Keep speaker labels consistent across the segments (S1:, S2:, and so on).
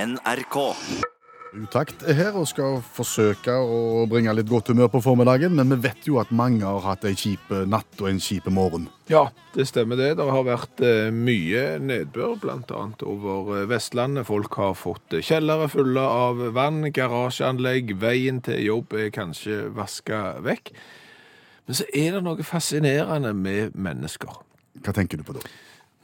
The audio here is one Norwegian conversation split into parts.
S1: NRK.
S2: Utakt er her og skal forsøke å bringe litt godt humør på formiddagen, men vi vet jo at mange har hatt ei kjip natt og en kjip morgen.
S3: Ja, det stemmer det. Det har vært eh, mye nedbør, bl.a. over eh, Vestlandet. Folk har fått eh, kjellere fulle av vann, garasjeanlegg, veien til jobb er kanskje vaska vekk. Men så er det noe fascinerende med mennesker.
S2: Hva tenker du på da?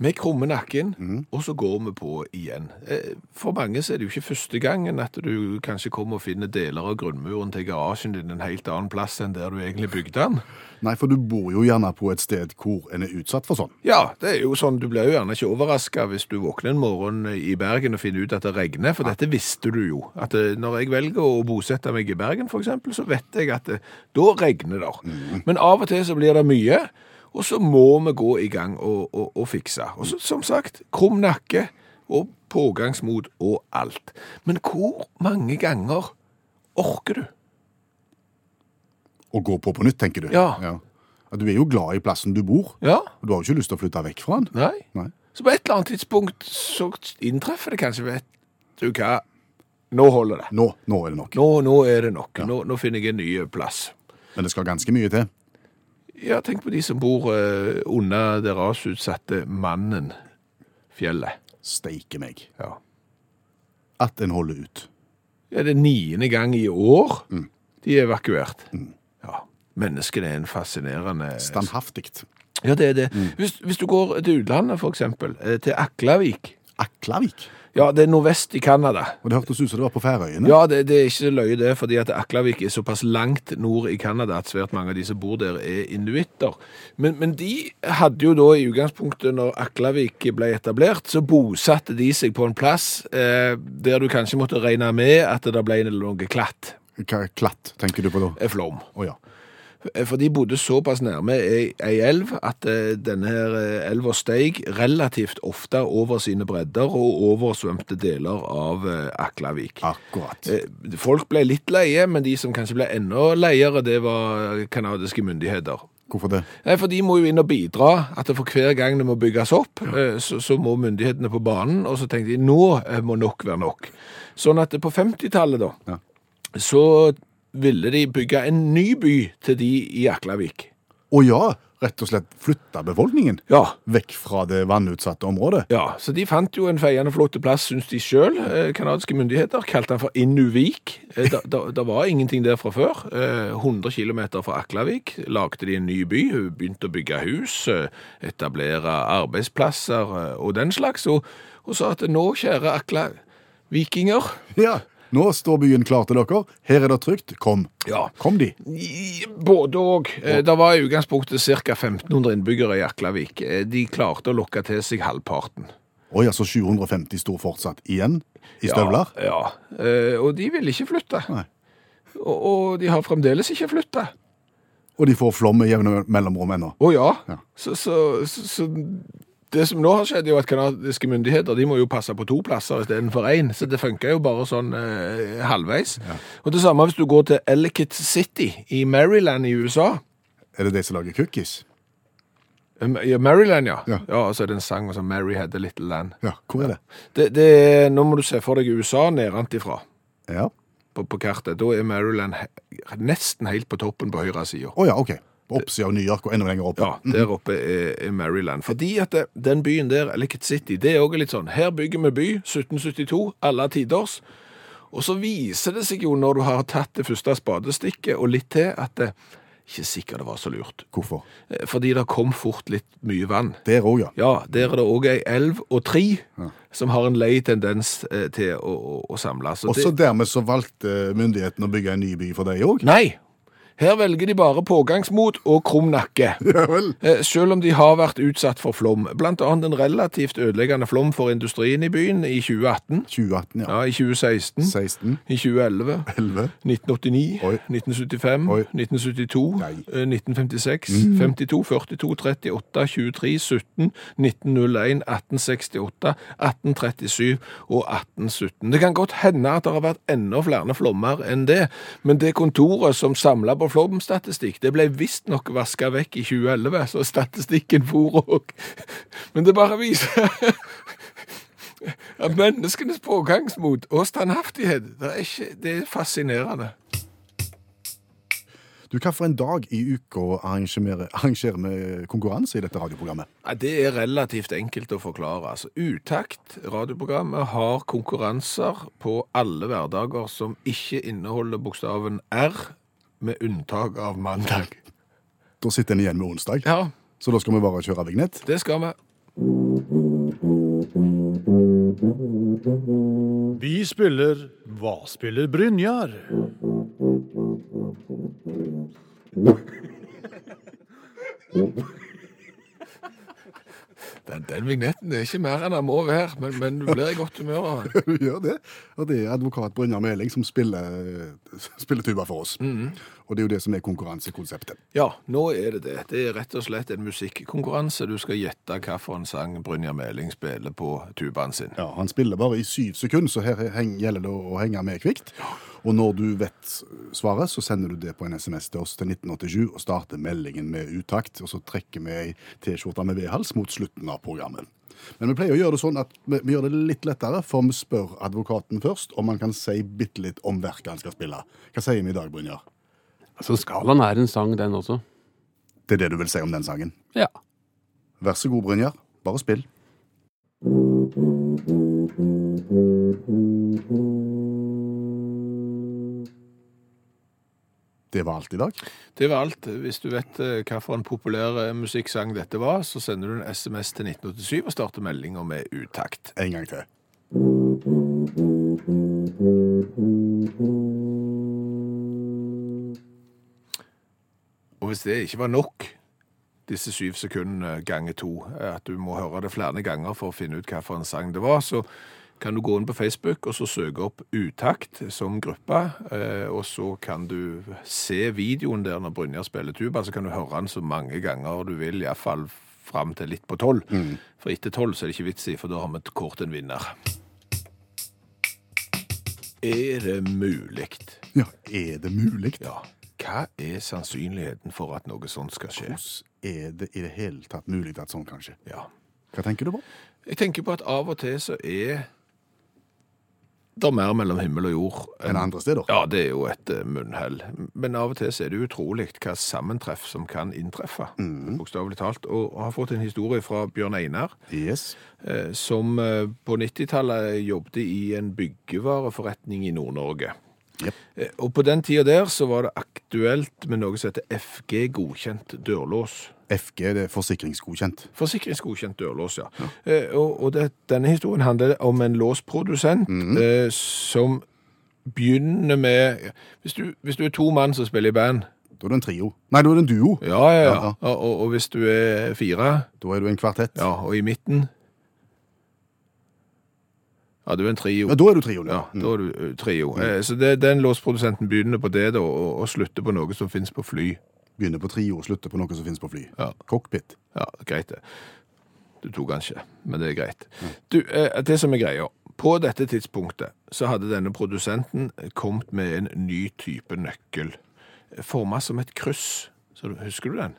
S3: Vi krummer nakken, og så går vi på igjen. Eh, For mange så er det jo ikke første gangen at du kanskje kommer og finner deler av grunnmuren til garasjen din en helt annen plass enn der du egentlig bygde den.
S2: Nei, for du bor jo gjerne på et sted hvor en er utsatt for sånn.
S3: Ja, det er jo sånn, du blir jo gjerne ikke overraska hvis du våkner en morgen i Bergen og finner ut at det regner, for dette visste du jo. At eh, når jeg velger å bosette meg i Bergen f.eks., så vet jeg at eh, da regner det. Men av og til så blir det mye, og så må vi gå i gang og, og, og fikse. Og så, som sagt, krum nakke og pågangsmot og alt. Men hvor mange ganger orker du?
S2: Å gå på på nytt, tenker du?
S3: Ja.
S2: Ja, Du er jo glad i plassen du bor,
S3: Ja?
S2: og du har jo ikke lyst til å flytte vekk fra den.
S3: Nei?
S2: Nei.
S3: Så på et eller annet tidspunkt så inntreffer det kanskje, vet du hva, nå holder det.
S2: Nå, nå er det nok.
S3: Nå, nå er det nok. Nå, nå finner jeg en ny plass.
S2: Men det skal ganske mye til.
S3: Ja, tenk på de som bor eh, under det rasutsatte mannen fjellet.
S2: Steike meg.
S3: Ja.
S2: At en holder ut.
S3: ja, det er niende gang i år de er evakuert. Ja, menneskene er en fascinerende...
S2: Standhaftig.
S3: Ja, det er det. Hvis, hvis du går til utlandet, for eksempel, eh, til Aklavik,
S2: Aklavik.
S3: ja, det er nordvest i Kanada,
S2: Og det hørtes ut som det var på Færøyene.
S3: Ja, det, det er ikke så løye det, fordi at Aklavik er såpass langt nord i Kanada at svært mange av de som bor der er inuitter. Men, men de hadde jo da i utgangspunktet, når Aklavik ble etablert, så bosatte de seg på en plass eh, der du kanskje måtte regne med at det ble noe klatt,
S2: Hva klatt tenker du på da?
S3: eh, flom.
S2: Å ja.
S3: Eh, For de bodde såpass nærme ei, ei elv at eh, denne her eh, elva steig relativt ofte over sine bredder og oversvømte deler av eh, Aklavik.
S2: Akkurat.
S3: Eh, Folk ble litt leie, men de som kanskje ble enda leiere, det var kanadiske myndigheter.
S2: Hvorfor det?
S3: Nei, For de må jo inn og bidra. At det for hver gang det må bygges opp, eh, så, så må myndighetene på banen. Og så tenkte de nå eh, må nok være nok. Sånn at på 50-tallet, da,
S2: Ja.
S3: så ville de bygge en ny by til de i Aklavik.
S2: Å ja, rett og slett flytte befolkningen
S3: Ja,
S2: vekk fra det vannutsatte området.
S3: Ja, så de fant jo en feiende flott plass, syns de sjøl, kanadiske myndigheter. Kalte den for Innuvik. Eh, da- da- Det var ingenting der fra før. Eh, 100 km fra Aklavik lagde de en ny by. Hun Begynte å bygge hus, eh, etablere arbeidsplasser eh, og den slags. Og, og sa at nå, kjære Aklavikinger
S2: Ja, nå står byen klar til dere. Her er det trygt. Kom.
S3: Ja.
S2: Kom de.
S3: I- Både òg. Det var i utgangspunktet ca. 1500 innbyggere i Aklavik. Eh, De klarte å lokke til seg halvparten.
S2: Å ja, så 750 står fortsatt igjen i støvler.
S3: Ja, ja. Eh, og de vil ikke flytte.
S2: Nei.
S3: Og, og de har fremdeles ikke flytta.
S2: Og de får flom med jevne mellomrom ennå.
S3: Å ja.
S2: Ja.
S3: Så, så, så, så det som nå har skjedd, er jo at kanadiske myndigheter de må jo passe på to plasser istedenfor én. Så det funker jo bare sånn eh, halvveis. Og det samme hvis du går til Ellicott City i Maryland i USA.
S2: Er det de som lager cookies?
S3: Um, ja, Maryland, ja.
S2: Ja.
S3: ja. og så er det en sang som Mary had a little land.
S2: Ja, hvor er det?
S3: Det, det, er- nå må du se for deg USA nedenfra
S2: Ja.
S3: på, på kartet. Da er Maryland he nesten helt på toppen på høyresida.
S2: Å ja, ok. På oppsida av New York og enda lenger opp.
S3: Ja, der oppe er, er Maryland. Fordi at det, den byen der, Ellicott City, det er også litt sånn, her bygger vi by, 1772, alle tiders. Og så viser det seg jo når du har tatt det første spadestikket og litt til, at det ikke sikkert det var så lurt.
S2: Hvorfor?
S3: Eh, Fordi det kom fort litt mye vann.
S2: Der òg, ja.
S3: Ja, der er det også ei elv og tre som har en lei tendens eh, til å, å, å samle. Så
S2: Og
S3: det-
S2: så dermed så valgte myndighetene å bygge en ny by for deg òg?
S3: Nei, her velger de bare pågangsmot og krum nakke.
S2: Ja vel.
S3: Eh, Selv om de har vært utsatt for flom, blant annet en relativt ødeleggende flom for industrien i byen i 2018,
S2: 2018, ja.
S3: ja, i 2016,
S2: 16.
S3: i 2011,
S2: 11.
S3: 1989,
S2: Oi.
S3: 1975,
S2: Oi.
S3: 1972,
S2: Nei. Mm.
S3: eh, 1956, 52, 42, 38, 23, 17, 1901, 1868, 1837 og 1817. Det kan godt hende at det har vært enda flere flommer enn det, men det kontoret som samla på flomstatistikk, det ble visstnok vaska vekk i 2011, så statistikken for òg. Men det bare viser Ja, Menneskenes pågangsmot og standhaftighet. Det er, ikke, det er fascinerende.
S2: Du, hva for en dag i uka arrangerer arrangerer vi konkurranse i dette radioprogrammet?
S3: Ja, det er relativt enkelt å forklare. Altså, Utakt, radioprogrammet, har konkurranser på alle hverdager som ikke inneholder bokstaven R, med unntak av mandag.
S2: Da sitter en igjen med onsdag,
S3: Ja,
S2: så da skal vi bare kjøre vignett.
S3: det skal vi.
S1: Vi spiller Hva spiller Brynjar?
S3: Den, den vignetten er ikke mer enn den må være, men, men du blir i godt humør av den.
S2: Du gjør det. Og det er advokat Brynjar Meling som spiller, spiller tuba for oss. Og det er jo det som er konkurransekonseptet.
S3: Ja, nå er det det. Det er rett og slett en musikkonkurranse. Du skal gjette hvilken sang Brynjar Meling spiller på tubaen sin.
S2: Ja, Han spiller bare i syv sekunder, så her heng, gjelder det å henge med kvikt. Og når du vet svaret, så sender du det på en SMS til oss til 1987 og starter meldingen med utakt. Og så trekker vi ei T-skjorte med V-hals mot slutten av programmet. Men vi pleier å gjøre det sånn at vi, vi gjør det litt lettere, for vi spør advokaten først om han kan si bitte litt om verket han skal spille. Hva sier vi i dag, Brynjar?
S4: Altså, skalaen er en sang, den også.
S2: Det er det du vil si om den sangen.
S4: Ja.
S2: Vær så god, Brynjar. Bare spill. Det var alt i dag.
S3: Det var alt. Hvis du vet eh, hvilken populær eh, musikksang dette var, så sender du en SMS til 1987 og starter meldinga med utakt.
S2: En gang til.
S3: Og hvis det ikke var nok, disse syv sekundene ganger to, eh, at du må høre det flere ganger for å finne ut hvilken sang det var, så kan du gå inn på Facebook og så søke opp Utakt som gruppe, eh, og så kan du se videoen der når Brynjar spiller tuba, så kan du høre den så mange ganger du vil, iallfall fram til litt på tolv. For etter tolv så er det ikke vits i, for da har vi kåret en vinner. Er det mulig?
S2: Ja, er det mulig?
S3: Ja. Hva er sannsynligheten for at noe sånt skal skje?
S2: Er det i det hele tatt mulig at sånn kan skje?
S3: Ja.
S2: Hva tenker du på?
S3: Jeg tenker på at av og til så er det mer mellom himmel og jord
S2: Enn andre steder?
S3: Ja, det er jo et eh, munnhell. Men av og til så er det utrolig hva sammentreff som kan inntreffe. Bokstavelig talt. Og jeg har fått en historie fra Bjørn Einar,
S2: Yes.
S3: eh, som eh, på 90-tallet jobbet i en byggevareforretning i Nord-Norge.
S2: Jep.
S3: Eh, Og på den tida der så var det aktuelt med noe som heter FG godkjent dørlås.
S2: FG det er forsikringsgodkjent.
S3: Forsikringsgodkjent dørlås, ja. Eh, og og det, denne historien handler om en låsprodusent
S2: Mhm.
S3: eh, som begynner med hvis du, hvis du er to mann som spiller i band,
S2: Da er du en trio. Nei, da er du en duo.
S3: ja, ja, ja.
S2: Ja, ja.
S3: Og, og, og hvis du er fire,
S2: Da er du en kvartett.
S3: ja, og i midten Ja, du er en trio.
S2: Ja, da er du trioen.
S3: Ja,
S2: Mm.
S3: da er du eh, trio. Eh, så det, den låsprodusenten begynner på det da, og, og slutter på noe som finnes på fly.
S2: Begynner på trio og slutter på noe som finnes på fly.
S3: Ja.
S2: Cockpit.
S3: Ja, greit det. Du tok han ikke, men det er greit. Du, eh, det som er greia, på dette tidspunktet så hadde denne produsenten kommet med en ny type nøkkel, eh, formet som et kryss. Så du- husker du den?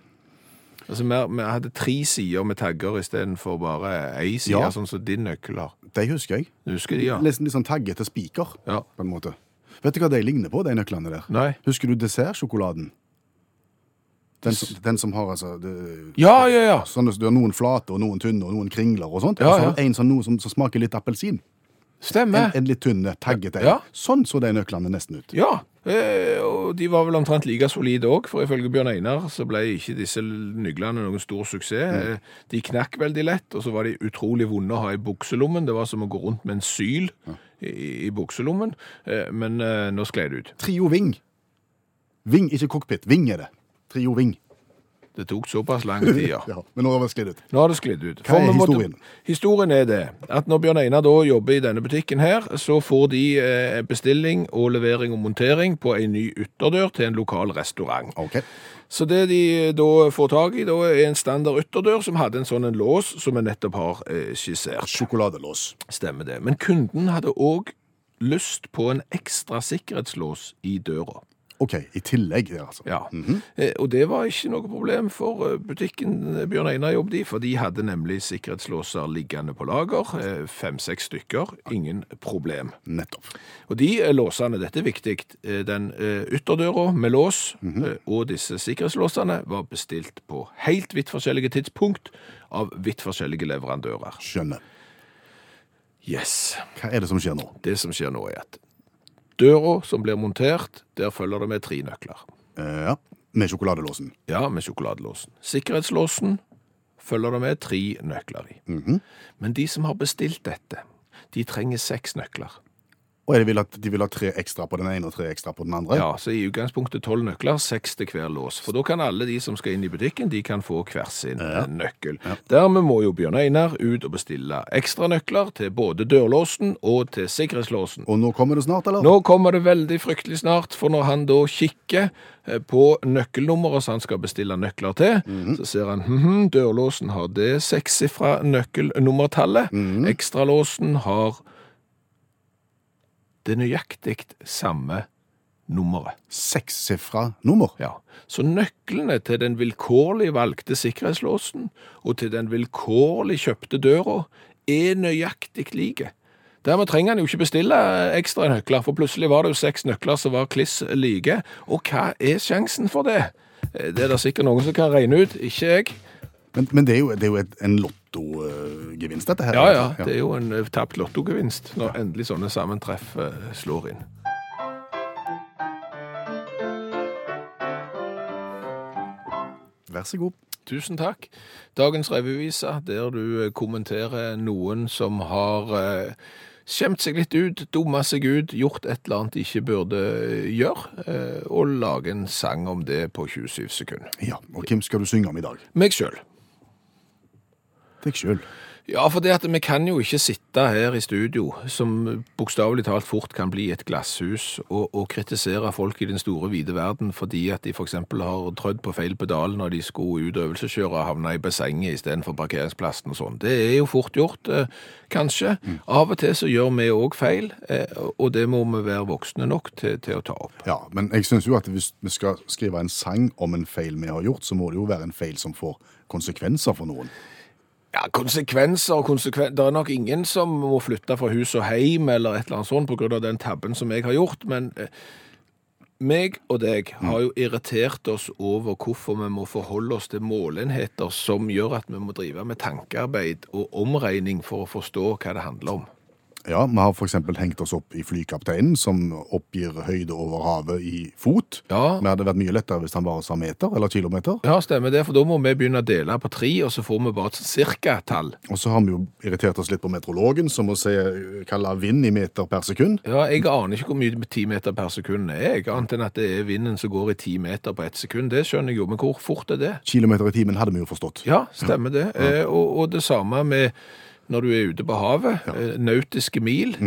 S3: Altså, vi, vi hadde tre sider med tagger i stedet for bare ei side,
S2: Ja.
S3: sånn som din nøkkel har.
S2: De husker jeg.
S3: Du Husker de, ja?
S2: Nesten litt sånn taggete spiker,
S3: Ja.
S2: på en måte. Vet du hva de ligner på, de nøklene der?
S3: Nei.
S2: Husker du dessertsjokoladen? Den, som- den som har altså det,
S3: Ja, ja, ja.
S2: sånn, Du har noen flate og noen tynne og noen kringler og sånt.
S3: Ja,
S2: og så har
S3: ja.
S2: du en sånn noe som, som smaker litt appelsin. En,
S3: Stemmer.
S2: en litt tynne, taggete en.
S3: Ja.
S2: Sånn så de nøklene nesten ut.
S3: Ja, eh, og de var vel omtrent like solide òg, for ifølge Bjørn Einar så ble ikke disse nyglene noen stor suksess.
S2: Mm.
S3: Eh, De knakk veldig lett, og så var de utrolig vonde å ha i bukselommen. Det var som å gå rundt med en syl i, i bukselommen, eh, men eh, nå sklei det ut.
S2: Trio Ving. Ving, ikke cockpit. Ving er det. Trio Ving.
S3: Det tok såpass lang tid, ja.
S2: Ja, men nå har det sklidd ut.
S3: Nå har det sklidd ut.
S2: Hva er
S3: For vi måtte-
S2: historien?
S3: Historien er det at når Bjørn Einar da jobber i denne butikken her, så får de eh, bestilling og levering og montering på en ny ytterdør til en lokal restaurant.
S2: OK.
S3: Så det de eh, da får tak i, da er en standard ytterdør som hadde en sånn en lås som vi nettopp har eh, skissert.
S2: Sjokoladelås.
S3: Stemmer det. Men kunden hadde òg lyst på en ekstra sikkerhetslås i døra.
S2: OK, i tillegg der, altså.
S3: Ja. Eh, Og det var ikke noe problem for eh, butikken eh, Bjørn Einar jobbet i, for de hadde nemlig sikkerhetslåser liggende på lager, eh, fem-seks stykker, ingen problem.
S2: Nettopp.
S3: Og de eh, låsene, dette er viktig, eh, den eh, ytterdøra med lås eh, og disse sikkerhetslåsene var bestilt på helt vidt forskjellige tidspunkt av vidt forskjellige leverandører.
S2: Skjønner.
S3: Yes.
S2: Hva er det som skjer nå?
S3: Det som skjer nå er at døra som blir montert, der følger det med tre nøkler.
S2: Eh, ja. Med sjokoladelåsen.
S3: Ja, med sjokoladelåsen. Sikkerhetslåsen følger det med tre nøkler i. Men de som har bestilt dette, de trenger seks nøkler.
S2: Og er det vil at de vil ha tre ekstra på den ene og tre ekstra på den andre?
S3: Ja, så i utgangspunktet tolv nøkler, seks til hver lås. For da kan alle de som skal inn i butikken, de kan få hver sin eh, nøkkel. Dermed må jo Bjørn Einar ut og bestille ekstra nøkler til både dørlåsen og til sikkerhetslåsen.
S2: Og nå kommer det snart, eller?
S3: Nå kommer det veldig fryktelig snart, for når han da kikker eh, på nøkkelnummeret som han skal bestille nøkler til, så ser han hm, dørlåsen har det sekssifra nøkkelnummertallet, ekstralåsen har det nøyaktig samme nummeret.
S2: Sekssifra nummer.
S3: Ja. Så nøklene til den vilkårlig valgte sikkerhetslåsen og til den vilkårlig kjøpte døra er nøyaktig like. Dermed trenger han jo ikke bestille ekstra nøkler, for plutselig var det jo seks nøkler som var kliss like. Og hva er sjansen for det? Eh, Det er det sikkert noen som kan regne ut, ikke jeg.
S2: Men, men det er jo, det er jo et, en lottogevinst, dette her.
S3: Ja ja, det er jo en eh, tapt lottogevinst når endelig sånne sammentreff eh, slår inn.
S2: Vær så god.
S3: Tusen takk. Dagens revyvise, der du eh, kommenterer noen som har eh, skjemt seg litt ut, dumma seg ut, gjort et eller annet de ikke burde eh, gjøre, eh, og lage en sang om det på 27 sekunder.
S2: Ja, Og hvem skal du synge om i dag?
S3: Meg sjøl.
S2: Deg sjøl.
S3: Ja, for det at vi kan jo ikke sitte her i studio, som bokstavelig talt fort kan bli et glasshus, og, og kritisere folk i den store, hvite verden fordi at de for eksempel har trødd på feil pedal når de skulle ut øvelseskjøre og havne i bassenget istedenfor parkeringsplassen og sånn. Det er jo fort gjort, eh, kanskje. Av og til så gjør vi òg feil, eh, og det må vi være voksne nok til, til å ta opp.
S2: Ja, men jeg syns jo at hvis vi skal skrive en sang om en feil vi har gjort, så må det jo være en feil som får konsekvenser for noen.
S3: Ja, konsekvenser og konsekvenser. Det er nok ingen som må flytte fra hus og heim eller et eller annet sånt på grunn av den tabben som jeg har gjort, men eh, meg og deg har jo irritert oss over hvorfor vi må forholde oss til målenheter som gjør at vi må drive med tankearbeid og omregning for å forstå hva det handler om.
S2: Ja, Vi har f.eks. hengt oss opp i flykapteinen, som oppgir høyde over havet i fot.
S3: Ja.
S2: Det hadde vært mye lettere hvis han bare sa meter eller kilometer.
S3: Ja, stemmer det, for da må vi begynne å dele på tre, og så får vi bare et cirka-tall.
S2: Og så har vi jo irritert oss litt på meteorologen, som må se, kalle vind i meter per sekund.
S3: Ja, jeg aner ikke hvor mye ti meter per sekund er, jeg, annet enn at det er vinden som går i ti meter på ett sekund. Det skjønner jeg jo, men hvor fort er det?
S2: Kilometer i timen hadde vi jo forstått.
S3: Ja, stemmer det. Eh, og, og det samme med når du er ute på havet. Eh, nautiske mil,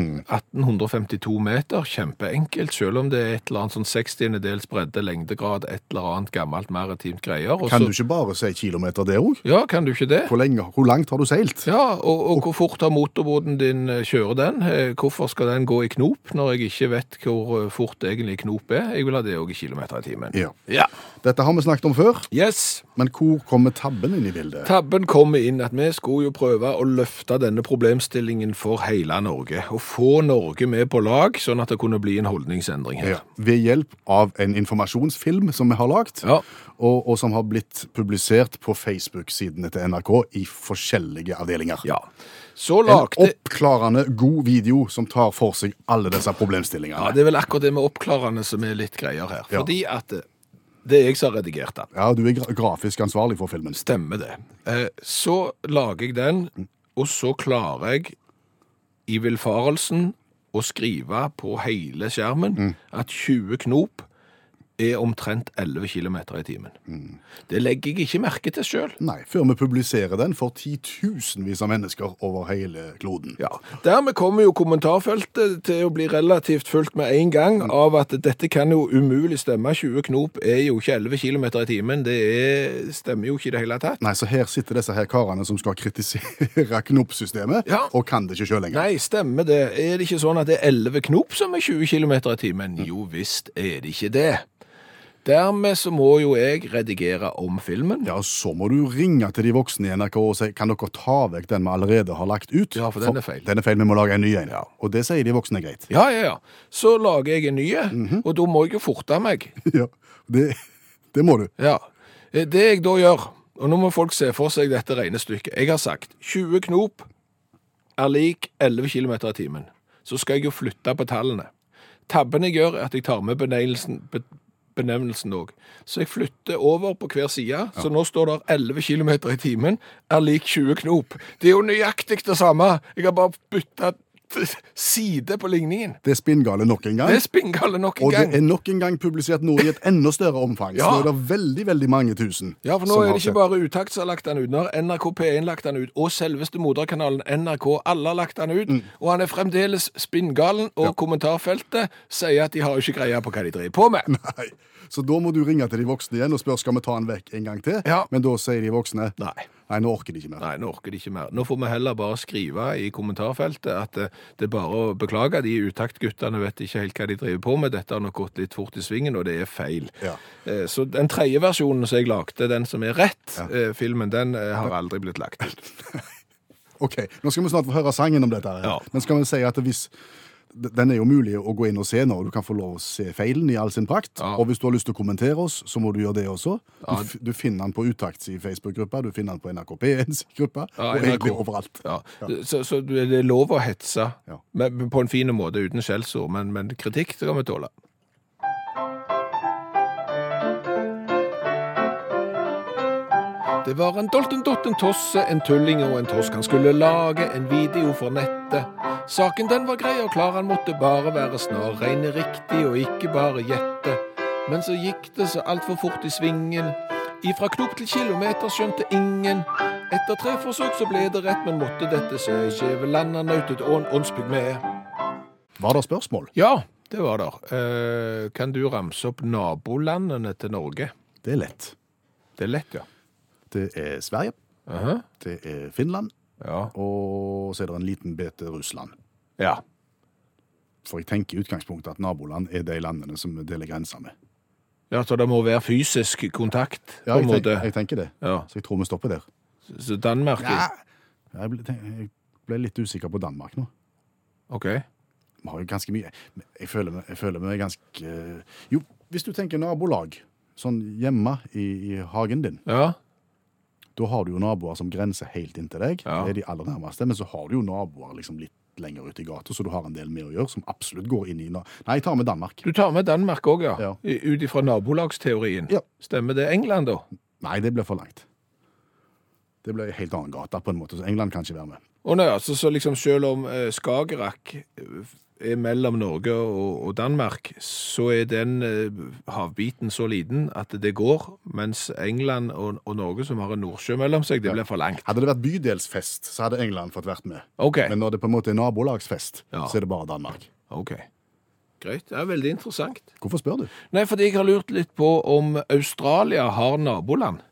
S3: 1852 meter, kjempeenkelt. Selv om det er et eller annet sånn 60. dels bredde, lengdegrad, et eller annet gammelt maritimt greier. og
S2: Kan
S3: så-
S2: du ikke bare si kilometer, det òg?
S3: Ja, kan du ikke det?
S2: Hvor, lenge- hvor langt har du seilt?
S3: Ja, og, og hvor fort har motorbåten din eh, kjører den? Eh, Hvorfor skal den gå i knop når jeg ikke vet hvor eh, fort egentlig knop er? Jeg vil ha det òg i kilometer i timen.
S2: Ja.
S3: ja.
S2: Dette har vi snakket om før,
S3: Yes!
S2: men hvor kommer tabben inn i bildet?
S3: Tabben kommer inn at vi skulle jo prøve å løfte denne problemstillingen for hele Norge, og få Norge med på lag, sånn at det kunne bli en holdningsendring her.
S2: Ja. Ved hjelp av en informasjonsfilm som vi har lagd,
S3: Ja.
S2: og, og som har blitt publisert på Facebook-sidene til NRK i forskjellige avdelinger.
S3: Ja. Så
S2: En
S3: lagde
S2: oppklarende god video som tar for seg alle disse
S3: Ja,
S2: problemstillingene.
S3: det er vel akkurat det med oppklarende som er litt greier her.
S2: Ja.
S3: Fordi at eh, det er jeg som har redigert den.
S2: Ja, du er gra- grafisk ansvarlig for filmen.
S3: Stemmer det. Eh, Så lager jeg den, og så klarer jeg i villfarelsen å skrive på hele skjermen at 20 knop er omtrent 11 km i timen. Det legger jeg ikke merke til sjøl.
S2: Nei, før vi publiserer den for titusenvis av mennesker over hele kloden.
S3: Ja. Dermed kommer jo kommentarfeltet til å bli relativt fullt med en gang av at dette kan jo umulig stemme. 20 knop er jo ikke 11 km i timen. Det er, stemmer jo ikke i det hele tatt.
S2: Nei, så her sitter disse her karene som skal kritisere knoppsystemet,
S3: Ja.
S2: og kan det ikke sjøl lenger.
S3: Nei, stemmer det. Er det ikke sånn at det er 11 knop som er 20 km i timen? Jo visst er det ikke det. Dermed så må jo jeg redigere om filmen.
S2: Ja, så må du ringe til de voksne i NRK og si kan dere ta vekk den vi allerede har lagt ut.
S3: Ja, for den er feil.
S2: Den er feil, Vi må lage en ny en. Og det sier de voksne er greit.
S3: Ja, ja, ja. Så lager jeg en ny, og da må jeg jo forte meg.
S2: Ja, det, det må du.
S3: Ja. Eh, Det jeg da gjør, og nå må folk se for seg dette regnestykket. Jeg har sagt 20 knop er lik 11 km i timen. Så skal jeg jo flytte på tallene. Tabben jeg gjør, er at jeg tar med benevnelsen be- benevnelsen òg. Så jeg flytter over på hver side. Så nå står det 11 km i timen er lik 20 knop. Det er jo nøyaktig det samme. Jeg har bare bytta side på ligningen.
S2: Det er spinngale nok en gang.
S3: Det er spinngale nok en
S2: og
S3: gang.
S2: det er nok en gang publisert nå i et enda større omfang.
S3: Ja.
S2: Så nå er det veldig, veldig mange tusen.
S3: Ja, for nå
S2: som
S3: er
S2: har
S3: det ikke
S2: sett.
S3: bare Utakt som har lagt den ut. Nå har NRK P1 lagt den ut, og selveste moderkanalen NRK. Alle har lagt den ut.
S2: Mm.
S3: Og han er fremdeles spinngalen, og kommentarfeltet sier at de har jo ikke greie på hva de driver på med.
S2: Nei. Så da må du ringe til de voksne igjen og spørre skal vi ta den vekk en gang til.
S3: Ja.
S2: Men da sier de voksne
S3: Nei.
S2: nei, nå orker de ikke mer.
S3: Nei, nå orker de ikke mer. Nå får vi heller bare skrive i kommentarfeltet at eh, det er bare å beklage. De utaktguttene vet ikke helt hva de driver på med. Dette har nok gått litt fort i svingen, og det er feil.
S2: Ja.
S3: Eh, Så den tredje versjonen som jeg lagde, den som er rett, eh, filmen, den eh, har aldri blitt lagt ut.
S2: Ok, Nå skal vi snart få høre sangen om dette. her.
S3: Ja.
S2: Men skal vi si at hvis den er jo mulig å gå inn og se nå, og du kan få lov å se feilen i all sin prakt.
S3: Ja.
S2: Og hvis du har lyst til å kommentere oss, så må du gjøre det også. Du,
S3: Ja.
S2: f- du finner den på Utakts i Facebook-gruppa, du finner den på NRK P1s gruppe,
S3: Ja,
S2: og egentlig
S3: NRK.
S2: overalt.
S3: Ja. Så, så det er lov å hetse
S2: Ja.
S3: men, men på en fin måte, uten skjellsord, men, men kritikk det kan vi tåle. Det var en dolt, en dott, en tosse, en tulling og en tosk. Han skulle lage en video for nettet. Saken den var grei og klar, han måtte bare være snar. Regne riktig og ikke bare gjette. Men så gikk det så altfor fort i svingen. Ifra knop til kilometer skjønte ingen. Etter tre forsøk så ble det rett, men måtte dette se. Skjæveland han nautet ån, åndspygme.
S2: Var det spørsmål?
S3: Ja, det var der. Eh, kan du ramse opp nabolandene til Norge?
S2: Det er lett.
S3: Det er lett, ja.
S2: Det er Sverige,
S3: Aha.
S2: det er Finland,
S3: Ja.
S2: og så er det en liten bete Russland.
S3: ja.
S2: For jeg tenker i utgangspunktet at naboland er de landene som vi deler grenser med.
S3: Ja, så det må være fysisk kontakt, på
S2: Ja, jeg,
S3: en måte.
S2: tenker, jeg tenker det.
S3: Ja.
S2: Så jeg tror vi stopper der.
S3: Så Danmark ja.
S2: Jeg ble, tenk- jeg ble litt usikker på Danmark nå.
S3: Ok.
S2: Vi har jo ganske mye men Jeg føler meg, jeg føler meg ganske eh, Jo, hvis du tenker nabolag, sånn hjemme i, i hagen din,
S3: Ja.
S2: da har du jo naboer som grenser helt inntil deg.
S3: Ja.
S2: Det er de aller nærmeste. Men så har du jo naboer liksom litt lenger ute i gata, så du har en del med å gjøre, som absolutt går inn i na- Nei, jeg tar med Danmark.
S3: Du tar med Danmark òg, ja.
S2: Ja.
S3: I- Ut ifra nabolagsteorien.
S2: Ja.
S3: Stemmer det England, da?
S2: Nei, det ble for langt. Det ble en helt annen gate, på en måte, så England kan ikke være med.
S3: Å nei, altså, så liksom selv om eh, Skagerrak eh, er mellom Norge og, og Danmark, så er den eh, havbiten så liten at det går, mens England og, og Norge, som har en nordsjø mellom seg, det blir for langt.
S2: Hadde det vært bydelsfest, så hadde England fått vært med.
S3: OK.
S2: Men når det på en måte er nabolagsfest,
S3: Ja.
S2: så er det bare Danmark.
S3: ok. Greit. Det er veldig interessant.
S2: Hvorfor spør du?
S3: Nei, fordi jeg har lurt litt på om Australia har naboland.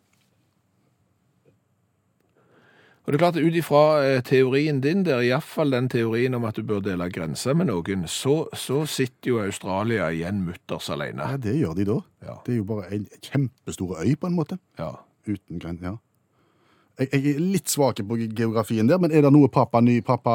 S3: Og det er klart, ut ifra eh, teorien din der, iallfall den teorien om at du bør dele grenser med noen, så, så sitter jo Australia igjen mutters alene.
S2: Ja, det gjør de da.
S3: Ja.
S2: Det er jo bare en kjempestor øy, på en måte.
S3: Ja.
S2: Uten gren... Ja. Jeg, jeg er litt svak på geografien der, men er det noe Papa Ny, Papa,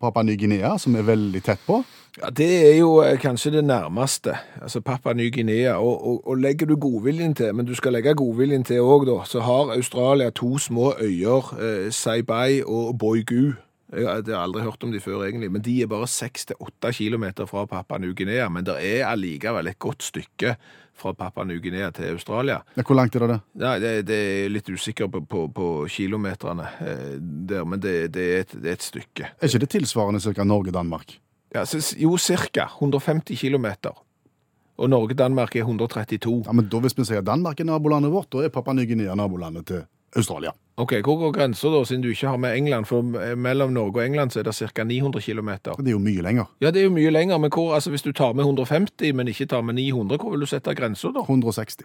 S2: Papa Ny Guinea som er veldig tett på?
S3: ja, det er jo eh, kanskje det nærmeste. Altså Papua Ny-Guinea. Og, og, og legger du godviljen til, men du skal legge godviljen til òg, da, så har Australia to små øyer, eh, Saibai og Boigu. Jeg har jeg har aldri hørt om de før, egentlig, men de er bare 6-8 km fra Papua Ny-Guinea. Men det er allikevel et godt stykke fra Papua Ny-Guinea til Australia.
S2: Ja, Hvor langt er det? det?
S3: Nei, det, det er jeg litt usikker på, på, på kilometerne eh, der, men det, det, er et, det er et stykke.
S2: Er ikke det tilsvarende cirka Norge-Danmark?
S3: Ja, så- jo, cirka 150 kilometer. Og Norge-Danmark er 132.
S2: Ja, men da Hvis vi sier Danmark er nabolandet vårt, da er Papa Ny Guinea nabolandet til Australia.
S3: Ok, hvor går grensa da, siden du ikke har med England? For eh, mellom Norge og England så er det ca. 900 kilometer.
S2: Det er jo mye lenger.
S3: Ja, det er jo mye lenger, men hvor, altså, hvis du tar med 150, men ikke tar med 900, hvor vil du sette grensa da?
S2: 160.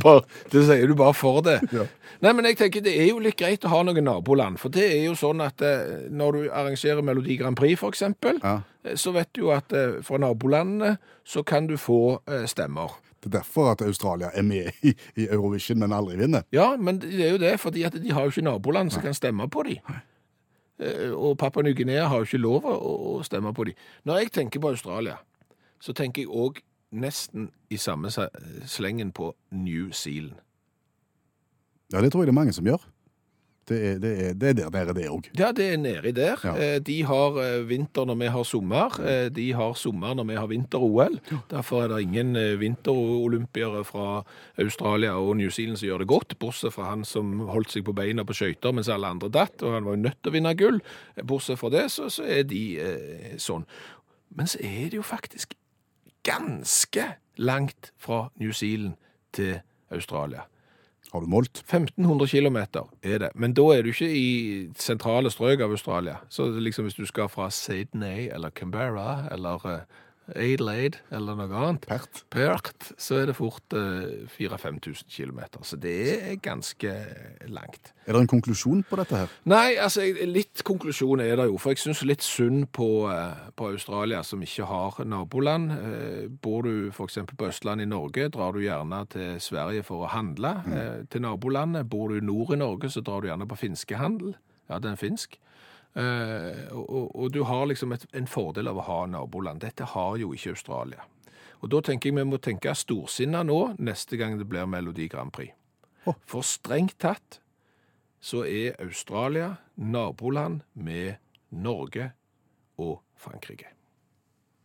S3: Bare, det sier du bare for det.
S2: Ja.
S3: Nei, men jeg tenker det er jo litt greit å ha noen naboland, for det er jo sånn at eh, når du arrangerer Melodi Grand Prix for eksempel,
S2: Ja.
S3: eh, så vet du jo at eh, fra nabolandene så kan du få eh, stemmer.
S2: Det er derfor at Australia er med i, i Eurovision, men aldri vinner.
S3: Ja, men det er jo det, fordi at de har jo ikke naboland som kan stemme på dem. Og Papua Ny-Guinea har jo ikke lov å, å stemme på dem. Når jeg tenker på Australia, så tenker jeg òg nesten i samme se- slengen på New Zealand.
S2: Ja, Det tror jeg det er mange som gjør. Det er, det er, det er der dere er det òg.
S3: Ja, det er nedi der.
S2: Ja.
S3: Eh, De har eh, vinter når vi har sommer. Eh, De har sommer når vi har vinter-OL. Derfor er det ingen eh, vinterolympiere fra Australia og New Zealand som gjør det godt, bortsett fra han som holdt seg på beina på skøyter mens alle andre datt, og han var jo nødt til å vinne gull. Eh, Bortsett fra det, så, så er de eh, sånn. Men så er det jo faktisk ganske langt fra New Zealand til Australia.
S2: Har du målt?
S3: 1500 km er det, men da er du ikke i sentrale strøk av Australia. Så liksom hvis du skal fra Sydney eller Canberra eller eh, Adelaide eller noe annet,
S2: Pert?
S3: Perth, så er det fort eh, 4000-5000 km. Så det er ganske langt.
S2: Er det en konklusjon på dette her?
S3: Nei, altså, jeg- litt konklusjon er det jo, for jeg syns litt synd på, eh, på Australia som ikke har naboland. Eh, Bor du f.eks. på Østlandet i Norge, drar du gjerne til Sverige for å handle eh, til nabolandet. Bor du nord i Norge, så drar du gjerne på finskehandel. Ja, den er finsk. Eh, og, og- og du har liksom et, en fordel av å ha naboland. Dette har jo ikke Australia. Og da tenker jeg vi må tenke storsinna nå, neste gang det blir Melodi Grand Prix. For strengt tatt så er Australia naboland med Norge og Frankrike.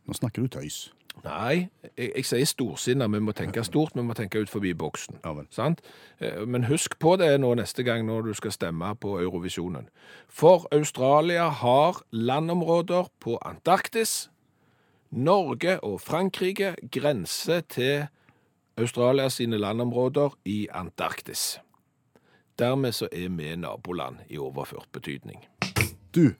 S2: Nå snakker du tøys.
S3: Nei, jeg, jeg sier storsinna. Vi må tenke stort, vi må tenke ut forbi boksen.
S2: Ja vel.
S3: Sant? Eh, Men husk på det nå neste gang når du skal stemme på Eurovisjonen. For Australia har landområder på Antarktis. Norge og Frankrike grenser til Australia sine landområder i Antarktis. Dermed så er vi naboland i overført betydning.
S2: Du,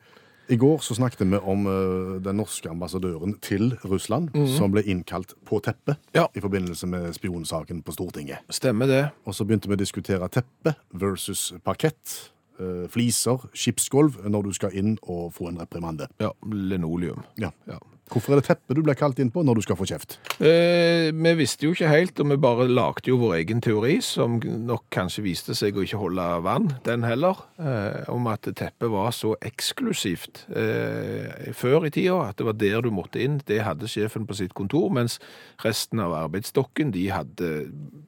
S2: i går så snakket vi om eh, den norske ambassadøren til Russland, som ble innkalt på teppet
S3: Mhm. Ja.
S2: i forbindelse med spionsaken på Stortinget.
S3: Stemmer det.
S2: Og så begynte vi å diskutere teppe versus parkett, eh, fliser, skipsgulv, når du skal inn og få en reprimande.
S3: Ja, linoleum.
S2: Ja.
S3: Ja.
S2: Hvorfor er det teppe du blir kalt inn på når du skal få kjeft?
S3: Eh, vi visste jo ikke helt, og vi bare lagde jo vår egen teori, som nok kanskje viste seg å ikke holde vann, den heller, eh, om at teppet var så eksklusivt eh, før i tida, at det var der du måtte inn. Det hadde sjefen på sitt kontor, mens resten av arbeidsstokken de hadde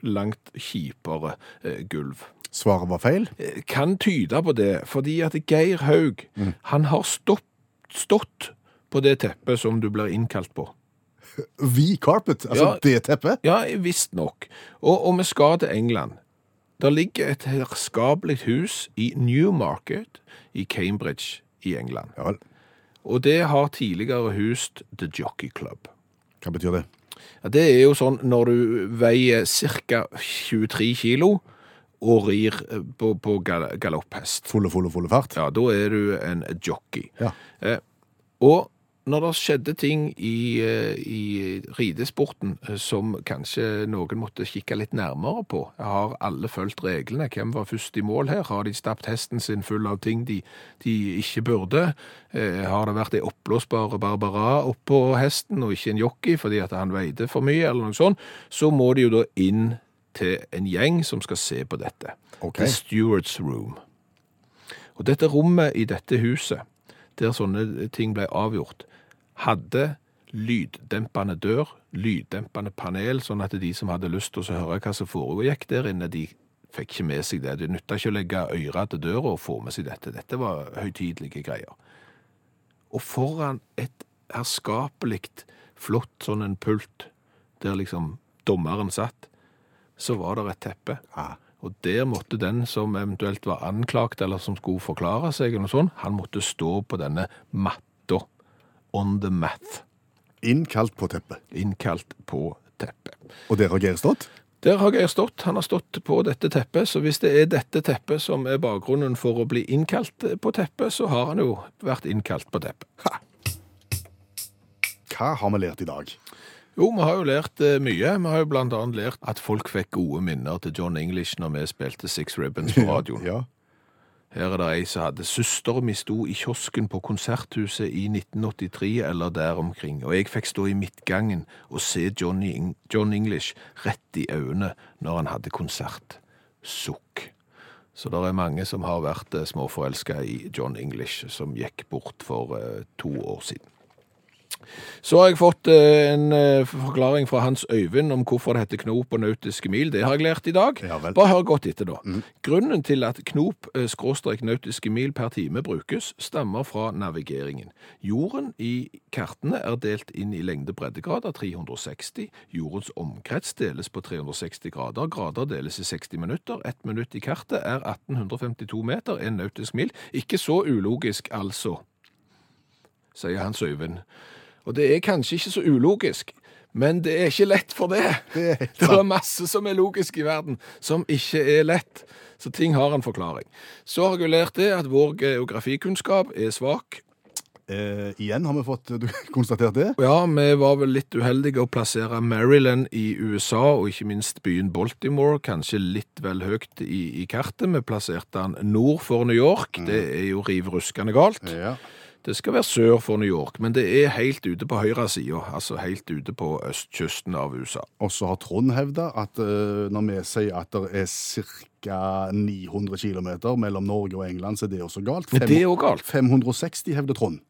S3: langt kjipere eh, gulv Eh,
S2: Svaret var feil.
S3: kan tyde på det, fordi at Geir Haug, han har stått, stått på det teppet som du blir innkalt på.
S2: The carpet, altså
S3: Ja.
S2: det teppet.
S3: Ja, visst nok. Og, og vi skal til England. Der ligger et herskabelig hus i Newmarket i Cambridge i England.
S2: Ja vel,
S3: Og det har tidligere hust The Jockey Club.
S2: hva betyr det?
S3: Ja, det er jo sånn når du veier ca. 23 kilo og rir eh, på, på gal galopphest.
S2: Fulle, fulle, fulle fart.
S3: Ja, da er du en jockey.
S2: Ja.
S3: Eh, og når det skjedde ting i, eh, i ridesporten eh, som kanskje noen måtte kikke litt nærmere på, har alle fulgt reglene? Hvem var først i mål her? Har de stappet hesten sin full av ting de, de ikke burde? Eh, har det vært ei oppblåsbar Barbara oppå hesten og ikke en jockey fordi at han veide for mye, eller noe sånt? Så må de jo da inn til en gjeng som skal se på dette.
S2: Ok.
S3: The Stewards Room. Og dette rommet i dette huset, der sånne ting ble avgjort, hadde lyddempende dør, lyddempende panel, sånn at de som hadde lyst til å høre hva som foregikk der inne, de fikk ikke med seg det. Det nytta ikke å legge øra til døra og få med seg dette. Dette var høytidelige greier. Og foran et herskapelig flott sånn en pult, der liksom dommeren satt, så var det et teppe.
S2: Ah.
S3: Og der måtte den som eventuelt var anklagt, eller som skulle forklare seg, eller noe sånt, han måtte stå på denne matta. On the mat.
S2: Innkalt på teppet.
S3: Innkalt på teppet.
S2: Og der har Geir stått.
S3: Der har Geir stått. Han har stått på dette teppet, så hvis det er dette teppet som er bakgrunnen for å bli innkalt på teppet, så har han jo vært innkalt på teppet.
S2: Hva har vi lært i dag?
S3: Jo, vi har jo lært eh, mye. Vi har jo blant annet lært at folk fikk gode minner til John English når vi spilte Six Ribbons på radioen.
S2: Ja.
S3: Her er det ei som hadde søsteren mi sto i kiosken på Konserthuset i 1983 eller der omkring, og jeg fikk stå i midtgangen og se Johnny, Eng- John English rett i øynene når han hadde konsert. Sukk. Så det er mange som har vært eh, småforelska i John English, som gikk bort for eh, to år siden. Så har jeg fått eh, en eh, forklaring fra Hans Øyvind om hvorfor det heter knop og nautiske mil. Det har jeg lært i dag.
S2: Ja vel. Mhm.
S3: Bare hør godt etter, da. Grunnen til at knop eh, skråstrek nautiske mil per time brukes, stammer fra navigeringen. Jorden i kartene er delt inn i lengde breddegrader 360. Jordens omkrets deles på 360 grader. Grader deles i 60 minutter. Ett minutt i kartet er 1852 meter, en nautisk mil. Ikke så ulogisk, altså, sier Hans Øyvind. Og det er kanskje ikke så ulogisk, men det er ikke lett for det. Det er, masse som er logisk i verden, som ikke er lett. Så ting har en forklaring. Så har jeg jo lært det at vår geografikunnskap er svak.
S2: Eh, igjen har vi fått du, konstatert det.
S3: Og Ja, vi var vel litt uheldige å plassere Maryland i USA, og ikke minst byen Baltimore, kanskje litt vel høyt i, i kartet. Vi plasserte den nord for New York. Det er jo riv ruskende galt.
S2: Ja.
S3: Det skal være sør for New York, men det er helt ute på høyresida, altså helt ute på østkysten av USA.
S2: Og så har Trond hevda at eh, når vi sier at det er ca. 900 km mellom Norge og England, så er det også galt.
S3: Men det er jo galt.
S2: 560 hevder Trond.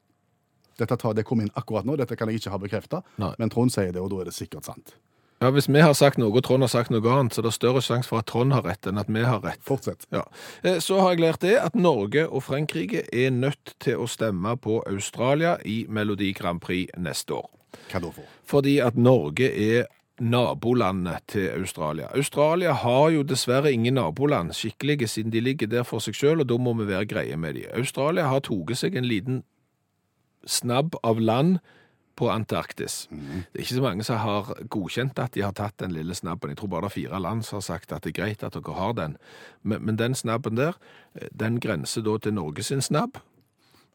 S2: Dette tar, det kom inn akkurat nå, dette kan jeg ikke ha bekrefta,
S3: Nei.
S2: men Trond sier det, og da er det sikkert sant.
S3: Ja, Hvis vi har sagt noe og Trond har sagt noe annet, så er det større sjanse for at Trond har rett enn at vi har rett.
S2: Fortsett.
S3: Ja. Eh, Så har jeg lært det at Norge og Frankrike er nødt til å stemme på Australia i Melodi Grand Prix neste år.
S2: Hva da for?
S3: Fordi at Norge er nabolandet til Australia. Australia har jo dessverre ingen naboland skikkelige, siden de ligger der for seg sjøl, og da må vi være greie med de. Australia har tatt seg en liten snabb av land på Antarktis. Det er ikke så mange som har godkjent at de har tatt den lille snabben. Jeg tror bare det er fire land som har sagt at det er greit at dere har den. Men, men den snabben der, eh, den grenser da til Norge sin snabb,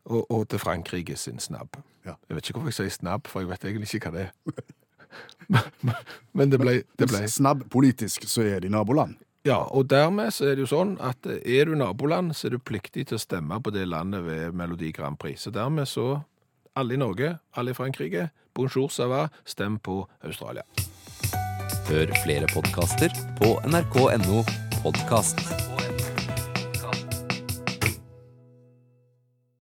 S3: og, og til Frankrike sin snabb.
S2: Ja.
S3: Jeg vet ikke hvorfor jeg sier snabb, for jeg vet egentlig ikke hva det er. Men- men- Men det ble, det ble
S2: Snabb politisk, så er de naboland.
S3: ja, og dermed så er det jo sånn at eh, er du naboland, så er du pliktig til å stemme på det landet ved Melodi Grand Prix. Så dermed så alle i Norge, alle i Frankrike, bonjour, ça va, stem på Australia.
S5: Hør flere podkaster på nrk.no podkast.